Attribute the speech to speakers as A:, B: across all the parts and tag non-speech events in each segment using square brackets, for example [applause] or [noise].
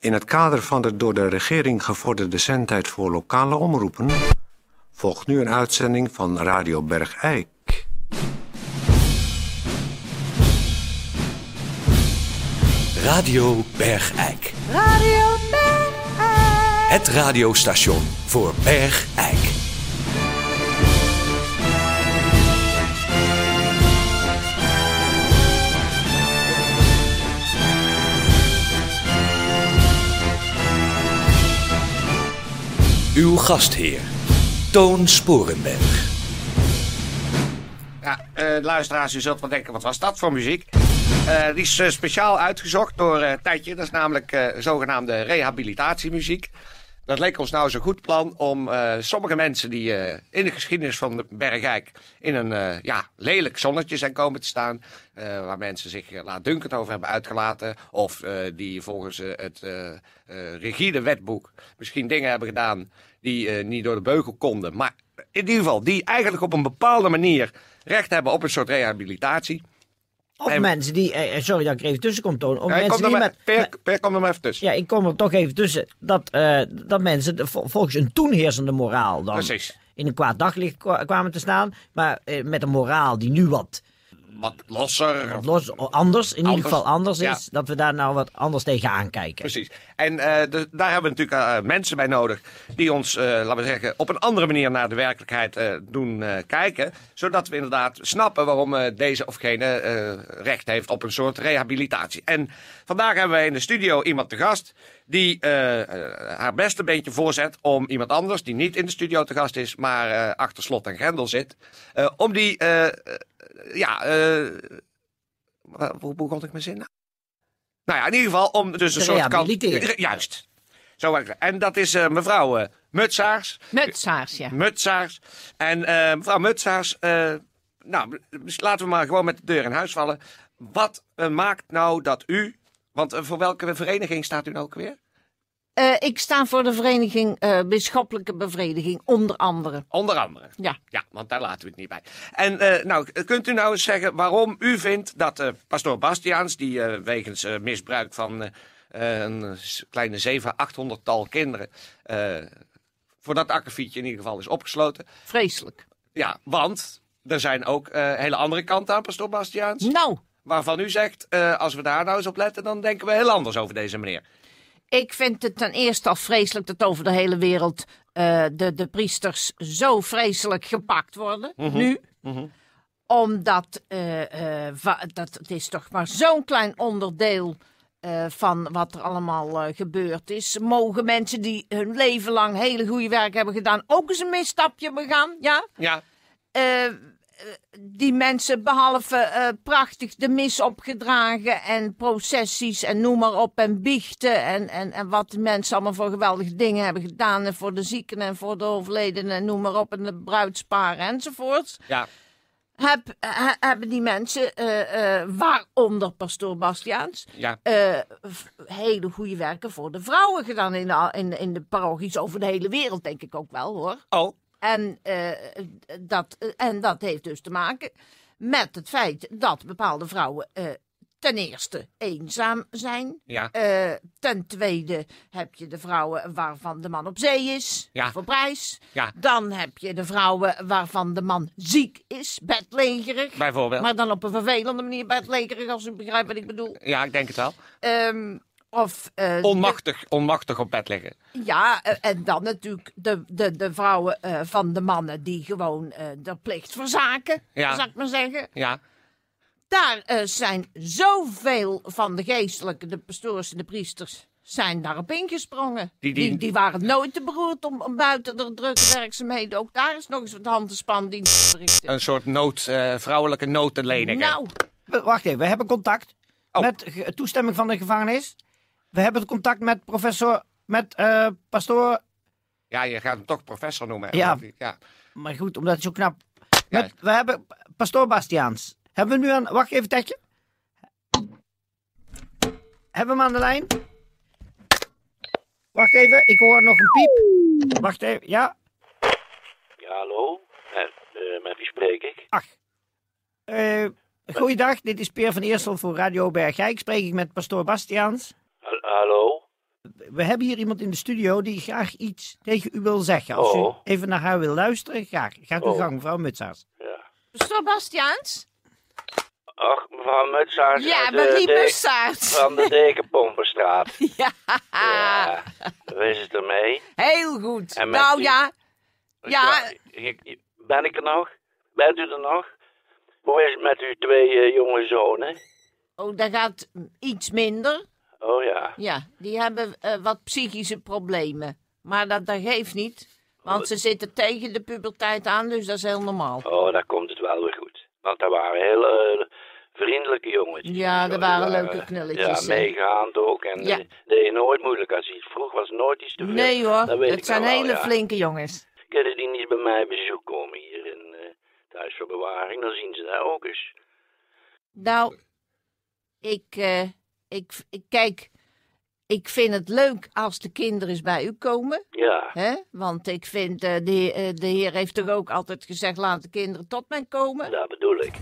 A: In het kader van de door de regering gevorderde zendtijd voor lokale omroepen volgt nu een uitzending van Radio Bergijk.
B: Radio Bergijk.
C: Radio Bergijk.
B: Het radiostation voor Bergijk. Uw gastheer, Toon Sporenberg.
D: Ja, eh, luisteraars, u zult wel denken, wat was dat voor muziek? Eh, die is eh, speciaal uitgezocht door eh Tijdje. Dat is namelijk eh, zogenaamde rehabilitatiemuziek. Dat leek ons nou zo'n goed plan om eh, sommige mensen die eh, in de geschiedenis van de Bergijk in een eh, ja, lelijk zonnetje zijn komen te staan, eh, waar mensen zich eh, laatdunkend over hebben uitgelaten, of eh, die volgens eh, het eh, eh, rigide wetboek misschien dingen hebben gedaan die eh, niet door de beugel konden, maar in ieder geval die eigenlijk op een bepaalde manier recht hebben op een soort rehabilitatie.
E: Of
D: En-
E: mensen die, eh, sorry dat ik er even tussen kom, Toon. Of
D: Ja, ik
E: mensen
D: kom er
E: die
D: maar,
E: met,
D: per,
E: met-
D: per, kom er maar even tussen.
E: ja, ik kom er toch even tussen. Dat, eh, dat mensen de- vol- volgens een toenheersende moraal dan
D: Precies.
E: in een kwaad daglicht kwa- kwamen te staan. Maar eh, met een moraal die nu wat,
D: Wat losser.
E: wat los, anders, in ieder
D: Anders.
E: geval anders
D: Ja.
E: is. Dat we daar nou wat anders tegenaan kijken.
D: Precies. En eh, de- daar hebben we natuurlijk eh, mensen bij nodig die ons, eh, laten we zeggen, op een andere manier naar de werkelijkheid eh, doen eh, kijken. Zodat we inderdaad snappen waarom eh, deze of gene eh, recht heeft op een soort rehabilitatie. En vandaag hebben we in de studio iemand te gast die eh, eh, haar beste beentje voorzet om iemand anders, die niet in de studio te gast is, maar eh, achter slot en grendel zit, eh, om die, eh, eh, ja, eh, wa- hoe begon ik mijn zin nou? Nou ja, in ieder geval om dus een
E: Te
D: soort... kan-
E: rehabiliteren.
D: Juist. Zo, werkt het. en dat is eh, mevrouw eh, Mutsaars.
C: Mutsaarsje. ja.
D: Mutsaars. En eh, mevrouw Mutsaars, eh, nou, dus laten we maar gewoon met de deur in huis vallen. Wat eh, maakt nou dat u, want eh, voor welke vereniging staat u nou ook weer?
C: Eh, ik sta voor de vereniging eh Bisschoppelijke Bevrediging, onder andere.
D: Onder andere.
C: Ja.
D: Ja, want daar laten we het niet bij. En eh, nou, kunt u nou eens zeggen waarom u vindt dat eh pastoor Bastiaans, die eh, wegens eh, misbruik van eh, eh, een s- kleine 700, 800-tal kinderen, eh, voor dat akkefietje in ieder geval is opgesloten.
C: Vreselijk.
D: Ja, want er zijn ook eh, hele andere kanten aan pastoor Bastiaans,
C: Nou,
D: waarvan u zegt, eh, als we daar nou eens op letten, dan denken we heel anders over deze meneer.
C: ik vind het ten eerste al vreselijk dat over de hele wereld eh, de, de priesters zo vreselijk gepakt worden. Nu. Omdat eh, eh, va- dat, het is toch maar zo'n klein onderdeel eh, van wat er allemaal eh, gebeurd is. Mogen mensen die hun leven lang hele goede werk hebben gedaan ook eens een misstapje begaan? Ja.
D: Ja,
C: eh, eh, die mensen behalve eh, prachtig de mis opgedragen en processies en noem maar op en biechten en, en, en wat die mensen allemaal voor geweldige dingen hebben gedaan en voor de zieken en voor de overledenen en noem maar op en de bruidsparen enzovoorts.
D: ja.
C: Heb, he- hebben die mensen, eh, eh, waaronder pastoor Bastiaans,
D: Ja.
C: eh, f- hele goede werken voor de vrouwen gedaan in de, al- in, de- in de parochies over de hele wereld denk ik ook wel hoor.
D: Oh,
C: En, eh, dat, en dat heeft dus te maken met het feit dat bepaalde vrouwen eh, ten eerste eenzaam zijn.
D: ja.
C: Eh, ten tweede heb je de vrouwen waarvan de man op zee is,
D: Ja.
C: voor prijs.
D: Ja.
C: Dan heb je de vrouwen waarvan de man ziek is, bedlegerig.
D: Bijvoorbeeld.
C: Maar dan op een vervelende manier bedlegerig, als u begrijpt wat ik bedoel.
D: Ja, ik denk het wel.
C: Ehm, of, eh,
D: Onmachtig, onmachtig op bed liggen.
C: ja, eh, en dan natuurlijk de, de, de vrouwen eh, van de mannen die gewoon eh de plicht verzaken,
D: Ja.
C: zou ik maar zeggen.
D: Ja.
C: Daar eh, zijn zoveel van de geestelijke, de pastoors en de priesters, zijn daarop ingesprongen.
D: Die- die-
C: waren nooit te beroerd om, om buiten de drukke werkzaamheden ook daar is nog eens wat hand- en spandienst te verrichten.
D: Een soort nood, eh, vrouwelijke noodlening.
C: nou,
E: We- Wacht even, we hebben contact
D: Oh.
E: met ge- toestemming van de gevangenis. We hebben het contact met professor, met eh pastoor.
D: Ja, je gaat hem toch professor noemen. hè?
E: Ja.
D: ja.
E: Maar goed, omdat het zo knap.
D: Ja.
E: Met, We hebben p- pastoor Bastiaans. Hebben we nu aan. Wacht even, Tetje. Hebben we hem aan de lijn? Wacht even, ik hoor nog een piep. Wacht even, ja.
F: Ja, hallo. Met, eh, met wie spreek ik?
E: Ach. Eh goeiedag, dit is Peer van Eersel voor Radio Bergijk. Spreek ik met pastoor Bastiaans?
F: Ha- hallo?
E: we hebben hier iemand in de studio die graag iets tegen u wil zeggen. Als
F: Oh.
E: u even naar haar wil luisteren, graag. Gaat uw
F: Oh.
E: gang, mevrouw Mutsaars.
F: Ja.
C: Mevrouw Bastiaans?
F: Ach, mevrouw Mutsaars.
C: Ja,
F: eh,
C: Marie
F: de-
C: Bussaert.
F: Van de Dekenpompenstraat.
C: [laughs] Ja,
F: Ja. Wees het ermee.
C: heel goed.
F: En met
C: Nou
F: die-
C: ja, ja,
F: Ik- Ben ik er nog? Bent u er nog? Hoe is het met uw twee eh, jonge zonen?
C: oh, dat gaat iets minder.
F: Oh ja.
C: Ja, die hebben eh, wat psychische problemen. Maar dat, dat geeft niet, want ze zitten tegen de puberteit aan, dus dat is heel normaal.
F: Oh, dan komt het wel weer goed. Want dat waren hele eh, vriendelijke jongetjes.
C: Ja, dat
F: Die
C: waren leuke knulletjes,
F: Ja,
C: hè.
F: meegaand ook. En
C: Ja.
F: ja. deed je nooit moeilijk als iets vroeg was. Nooit iets te veel.
C: Nee
F: Dat
C: hoor,
F: weet
C: het
F: ik
C: zijn
F: nou wel,
C: hele
F: ja.
C: flinke jongens.
F: Kunnen die niet bij mij bezoek komen hier in eh thuisverbewaring? Dan zien ze daar ook eens.
C: Nou, ik, eh, ik, ik kijk, ik vind het leuk als de kinderen eens bij u komen.
F: Ja.
C: Hè? Want ik vind, eh, de, eh, de heer heeft toch ook altijd gezegd, laat de kinderen tot mij komen.
F: Dat bedoel ik.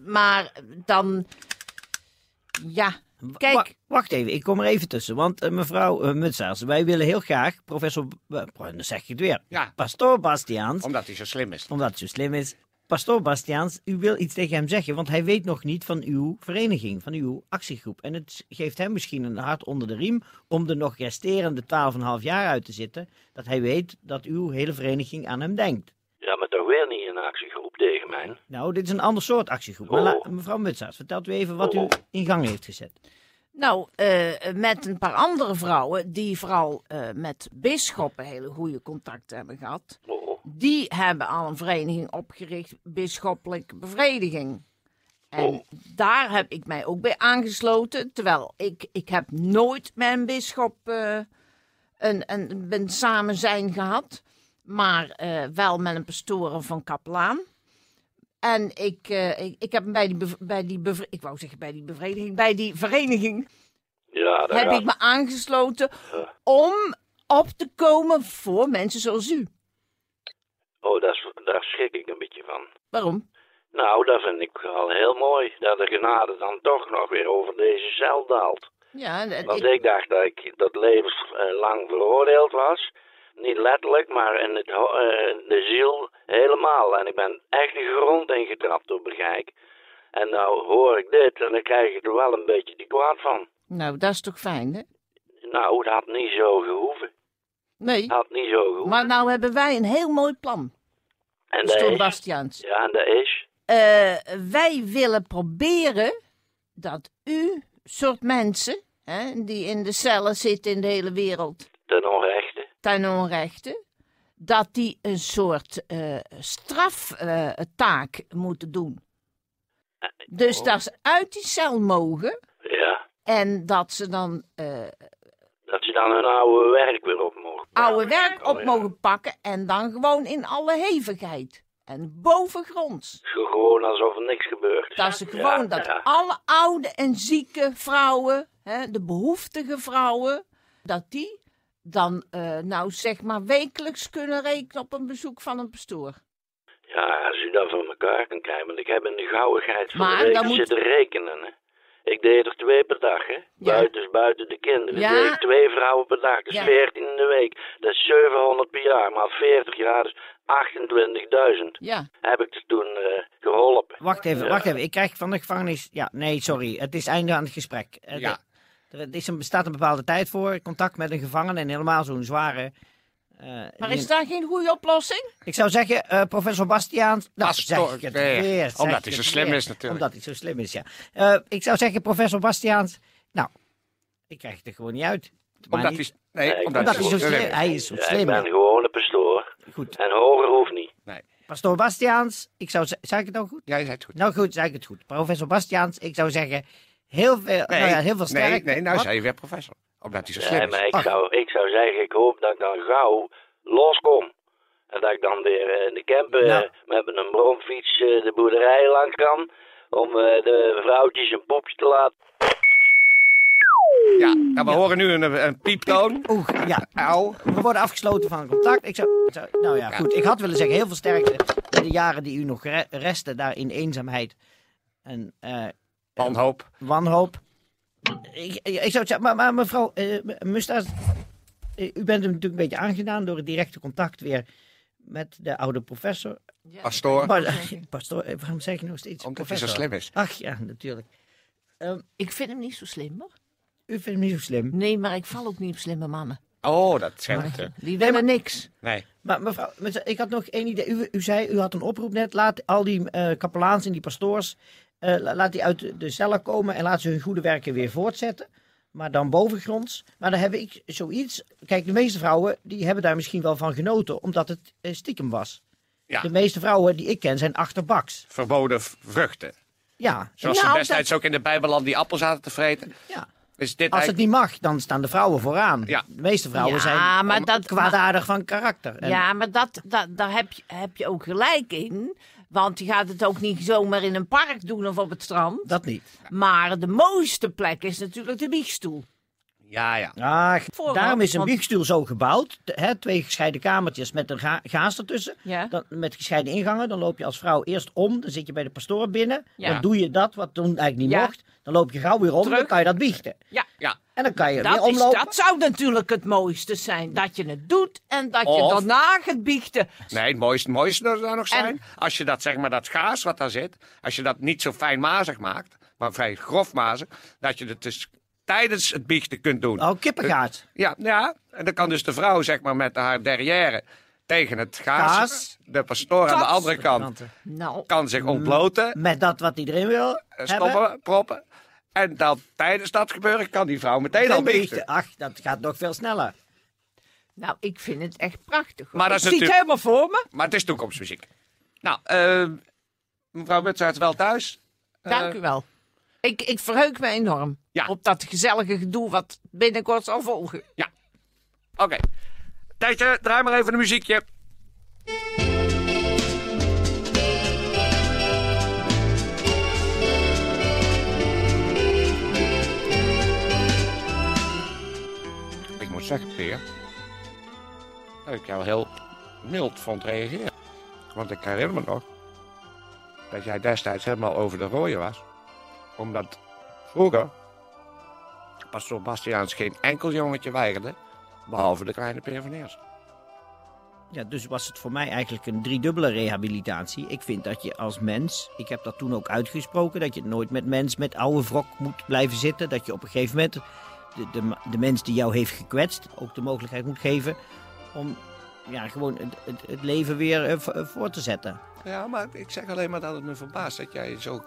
C: Maar dan, ja,
E: Wa-
C: kijk,
E: wacht even, ik kom er even tussen. Want eh, mevrouw eh, Mutsaars, wij willen heel graag professor... eh, dan zeg ik het weer.
D: Ja.
E: Pastoor Bastiaans,
D: Omdat hij zo slim is.
E: omdat het zo slim is. Pastoor Bastiaans, u wil iets tegen hem zeggen, want hij weet nog niet van uw vereniging, van uw actiegroep. En het geeft hem misschien een hart onder de riem om de nog resterende 12,5 jaar uit te zitten, dat hij weet dat uw hele vereniging aan hem denkt.
F: Ja, maar toch weer niet in actiegroep tegen mij.
E: Nou, dit is een ander soort actiegroep. Maar
F: Oh.
E: la- mevrouw Mutsaars, vertelt u even wat u
F: Oh.
E: in gang heeft gezet.
C: Nou, eh, met een paar andere vrouwen, die vooral eh, met bisschoppen hele goede contacten hebben gehad,
F: Oh,
C: die hebben al een vereniging opgericht, bisschoppelijke bevrediging. En daar heb ik mij ook bij aangesloten, terwijl ik, ik heb nooit met een bisschop eh, een, een, een samen zijn gehad, maar eh, wel met een pastoren van Kaplaan. En ik, eh, ik, ik heb hem bij die, bev- bij die bevre- ik wou zeggen bij die bevrediging, bij die vereniging
F: ja, dat
C: heb
F: gaat.
C: ik me aangesloten om op te komen voor mensen zoals u.
F: Oh, daar, s- daar schrik ik een beetje van.
C: Waarom?
F: Nou, dat vind ik al heel mooi. Dat de genade dan toch nog weer over deze cel daalt.
C: Ja, en- en
F: Want
C: ik-
F: ik dacht dat ik dat levenslang veroordeeld was. Niet letterlijk, maar in het, ho- eh, in de ziel helemaal. En ik ben echt de grond ingetrapt door begeik. En nou hoor ik dit en dan krijg ik er wel een beetje die kwaad van.
C: nou, dat is toch fijn, hè?
F: Nou, dat had niet zo gehoeven.
C: Nee,
F: Dat had niet zo gehoeven.
C: maar nou hebben wij een heel mooi plan,
F: en dat
C: Stoor
F: is-
C: Bastiaans.
F: Ja, en dat is...
C: Eh, wij willen proberen dat u, soort mensen, hè, die in de cellen zitten in de hele wereld
F: ten onrechte.
C: ten onrechte, dat die een soort eh, straftaak moeten doen.
F: Eh,
C: Dus
F: oh.
C: dat ze uit die cel mogen
F: Ja,
C: En dat ze dan eh
F: dat ze dan hun oude werk weer op mogen pakken.
C: oude werk op
F: Oh, ja.
C: mogen pakken en dan gewoon in alle hevigheid. En bovengronds.
F: Gewoon alsof er niks gebeurt.
C: Dat ze gewoon
F: Ja,
C: dat
F: ja.
C: alle oude en zieke vrouwen, hè, de behoeftige vrouwen, dat die dan eh, nou zeg maar wekelijks kunnen rekenen op een bezoek van een pastoor.
F: Ja, als u dat voor elkaar kan krijgen. Want ik heb in de gauwigheid van
C: Maar
F: de week
C: dan moet-
F: zitten rekenen. hè. Ik deed er twee per dag, hè. Buiten, dus buiten de kinderen.
C: Ja.
F: Deed ik twee vrouwen per dag. Dus
C: Ja.
F: 14 in de week. Dat is 700 per jaar. Maar 40 jaar is 28.000.
C: Ja.
F: Heb ik er toen eh, geholpen.
E: Wacht even,
F: Ja.
E: wacht even. Ik krijg van de gevangenis... Ja, nee, sorry. Het is einde aan het gesprek. Eh,
D: Ja.
E: Er er is een, staat een bepaalde tijd voor. Contact met een gevangene en helemaal zo'n zware... eh,
C: Maar
E: die-
C: is daar geen goede oplossing?
E: Ik zou zeggen, eh, professor Bastiaans... Nou,
D: Pastoor,
E: zeg ik het
D: nee,
E: weer, zeg
D: omdat
E: ik
D: hij zo
E: het
D: slim
E: weer.
D: is natuurlijk.
E: Omdat hij zo slim is, ja. Eh, ik zou zeggen, professor Bastiaans... Nou, ik krijg het er gewoon niet uit. Maar
D: Omdat
E: niet-
D: hij... Nee, omdat
E: omdat
D: hij
E: hij zo slim...
D: is.
E: Hij is zo
F: Ja, ik
E: slim.
F: ben gewoon een pastoor.
E: Goed.
F: En hoger hoeft niet.
D: Nee,
E: Pastoor Bastiaans, ik zou... ze- Zei ik het nou goed?
D: jij zei het goed.
E: Nou goed, zeg ik het goed. Professor Bastiaans, ik zou zeggen, heel veel, nou ja, heel veel sterk.
D: nee, nee, nou
E: Wat?
D: zei je weer professor. Omdat hij zo
F: Nee,
D: slim
F: maar
D: is.
F: ik zou, ik zou zeggen, ik hoop dat ik dan gauw loskom. En dat ik dan weer eh, in de camper
E: Nou.
F: eh, met een bromfiets eh, de boerderij lang kan. Om eh, de vrouwtjes een poepje te laten.
D: Ja, nou, we horen nu een, een pieptoon.
E: Oeh, ja.
D: Au.
E: We worden afgesloten van contact. Ik zou, ik zou- nou ja, goed. Ik had willen zeggen, heel veel sterkte in de jaren die u nog re- resten daar in eenzaamheid en eh,
D: Wanhoop.
E: wanhoop. ik, ik zou het zeggen, maar, maar mevrouw eh Mustaas, eh, u bent hem natuurlijk een beetje aangedaan door het directe contact weer met de oude professor.
D: Pastoor.
E: Maar, pastoor, eh, [laughs] waarom zeg ik nog steeds
D: Oh. Omdat hij zo
E: professor?
D: slim is.
E: Ach ja, natuurlijk.
C: Ik vind hem niet zo slim, hoor.
E: U vindt hem niet zo slim.
C: Nee, maar ik val ook niet op slimme mannen.
D: Oh, dat zegt natuurlijk.
C: Die willen niks.
D: Nee.
E: Maar mevrouw, met- ik had nog één idee. U, u zei, u had een oproep net. Laat al die eh kapelaans en die pastoors, eh, la- laat die uit de- de cellen komen en laat ze hun goede werken weer voortzetten. Maar dan bovengronds. Maar dan heb ik zoiets. Kijk, de meeste vrouwen die hebben daar misschien wel van genoten, omdat het eh, stiekem was.
D: Ja.
E: De meeste vrouwen die ik ken zijn achterbaks.
D: Verboden v- vruchten.
E: Ja.
D: Zoals
C: Nou,
D: ze destijds ook in de Bijbelland die appel zaten te vreten.
E: ja.
D: Is dit
E: Als het
D: eigenlijk...
E: niet mag, dan staan de vrouwen vooraan.
D: Ja.
E: De meeste vrouwen
C: Ja,
E: zijn
C: maar dat-
E: kwaadaardig van karakter. En-
C: Ja, maar dat, dat, daar heb je, heb je ook gelijk in. Want je gaat het ook niet zomaar in een park doen of op het strand.
E: Dat niet.
C: Maar de mooiste plek is natuurlijk de biechtstoel.
D: Ja, ja.
E: Ah,
C: Voorhand,
E: daarom is een
C: want-
E: wiegstoel zo gebouwd. T- hè, twee gescheiden kamertjes met een ga gaas ertussen.
C: Ja.
E: Dan, met gescheiden ingangen. Dan loop je als vrouw eerst om. Dan zit je bij de pastoor binnen.
C: Ja.
E: Dan doe je dat wat toen eigenlijk niet
C: Ja.
E: mocht. Dan loop je gauw weer om. Dan
C: Terug.
E: kan je dat biechten.
C: Ja,
D: ja.
E: En dan kan je weer
C: dat, is,
E: omlopen.
C: dat zou natuurlijk het mooiste zijn. Dat je het doet en dat je
D: Of-
C: daarna gaat biechten.
D: Nee, het mooiste, het mooiste zou daar nog
C: En-
D: zijn. Als je dat, zeg maar, dat gaas wat daar zit, als je dat niet zo fijnmazig maakt, maar vrij grofmazig, dat je het dus tijdens het biechten kunt doen.
E: Oh, kippengaat.
D: Ja, ja, en dan kan dus de vrouw, zeg maar, met haar derrière tegen het gaas.
E: Gaas.
D: De pastoor aan de andere kant
C: Nou,
D: kan zich ontbloten,
E: Met dat wat iedereen wil
D: eh,
E: Mm. hebben.
D: stoppen, proppen. En dan tijdens dat gebeuren kan die vrouw meteen al
E: Dan
D: biechten.
E: biechten. Ach, dat gaat nog veel sneller.
C: nou, ik vind het echt prachtig. hoor.
D: Maar dat
C: ik
D: is
C: zie het
D: natuurlijk-
C: helemaal voor me.
D: Maar het is toekomstmuziek. Nou, eh, mevrouw Mutsert, wel thuis.
C: Dank u wel. Ik, ik verheug me enorm
D: Ja.
C: op dat gezellige gedoe wat binnenkort zal volgen.
D: Oké. Tijdje, draai maar even een muziekje. Ik moet zeggen, Peer, dat ik jou heel mild vond reageren. Want ik herinner me nog dat jij destijds helemaal over de rode was. Omdat vroeger pastoor Bastiaans geen enkel jongetje weigerde Behalve de kleine perveneers.
E: Ja, dus was het voor mij eigenlijk een driedubbele rehabilitatie. Ik vind dat je als mens, ik heb dat toen ook uitgesproken, dat je nooit met mens met oude wrok moet blijven zitten. Dat je op een gegeven moment de, de, ma- de mens die jou heeft gekwetst ook de mogelijkheid moet geven om ja, gewoon het, het, het leven weer eh, vo- eh, voor te zetten.
D: Ja, maar ik zeg alleen maar dat het me verbaast dat jij zo,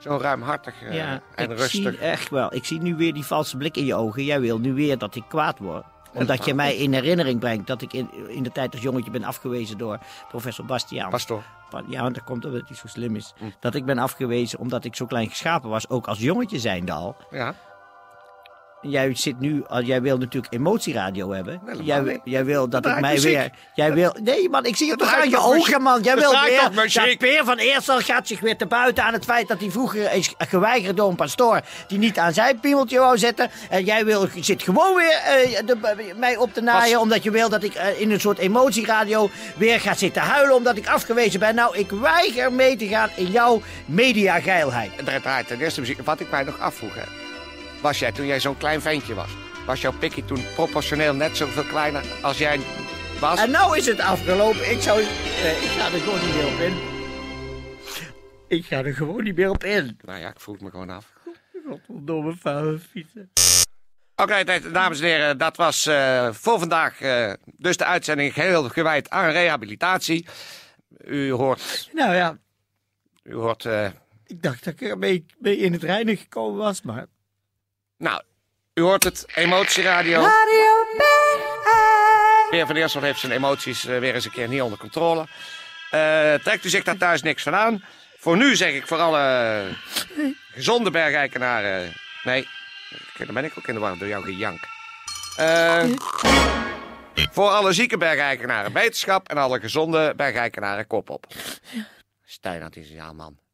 D: zo ruimhartig eh, en
E: ik
D: rustig.
E: zie echt wel. Ik zie nu weer die valse blik in je ogen. Jij wil nu weer dat ik kwaad word. Omdat je mij in herinnering brengt dat ik in, in de tijd als jongetje ben afgewezen door professor Bastiaan.
D: Pastoor.
E: Van, Ja, want dat komt omdat hij zo slim is. Dat ik ben afgewezen omdat ik zo klein geschapen was, ook als jongetje zijnde al.
D: Ja.
E: En Jij zit nu, al- jij wil natuurlijk emotieradio hebben.
D: helemaal niet.
E: jij, jij wil dat ik
D: draait
E: mij
D: muziek.
E: weer. Jij wil. Nee, man, ik zie het
D: Er
E: toch aan
D: draait
E: je
D: toch muziek.
E: ogen, man. Jij
D: Er
E: wil
D: draait
E: weer.
D: toch muziek.
E: Dat Peer van Eerstel gaat zich weer te buiten aan het feit dat hij vroeger is geweigerd door een pastoor die niet aan zijn piemeltje wou zetten. En jij wil, zit gewoon weer eh, de- mij op te naaien,
D: Was-
E: omdat je wil dat ik eh, in een soort emotieradio weer ga zitten huilen, omdat ik afgewezen ben. Nou, ik weiger mee te gaan in jouw mediageilheid.
D: En daar draait ten eerste muziek. Wat ik mij nog afvroeg, hè, was jij toen jij zo'n klein ventje was, was jouw pikkie toen proportioneel net zoveel kleiner als jij was?
E: En nou is het afgelopen. Ik zou... eh, ik ga er gewoon niet meer op in. Ik ga er gewoon niet meer op in.
D: Nou ja, ik vroeg me gewoon af.
E: Godverdomme vuile fietsen.
D: Oké, dit- dames en heren, dat was eh, voor vandaag eh, dus de uitzending geheel gewijd aan rehabilitatie. U hoort,
E: Nou ja,
D: u hoort eh,
E: ik dacht dat ik ermee mee in het reinen gekomen was, maar...
D: Nou, u hoort het, emotieradio. Radio Peer van Eersel heeft zijn emoties eh, weer eens een keer niet onder controle. Eh, trekt u zich daar thuis niks van aan. Voor nu zeg ik voor alle eh, gezonde bergrijkenaren... eh, Nee, kijk, dan ben ik ook in de war door jouw gejank. Eh, voor alle zieke bergrijkenaren wetenschap... en alle gezonde bergrijkenaren kop op. Stijn, dat is ja, man.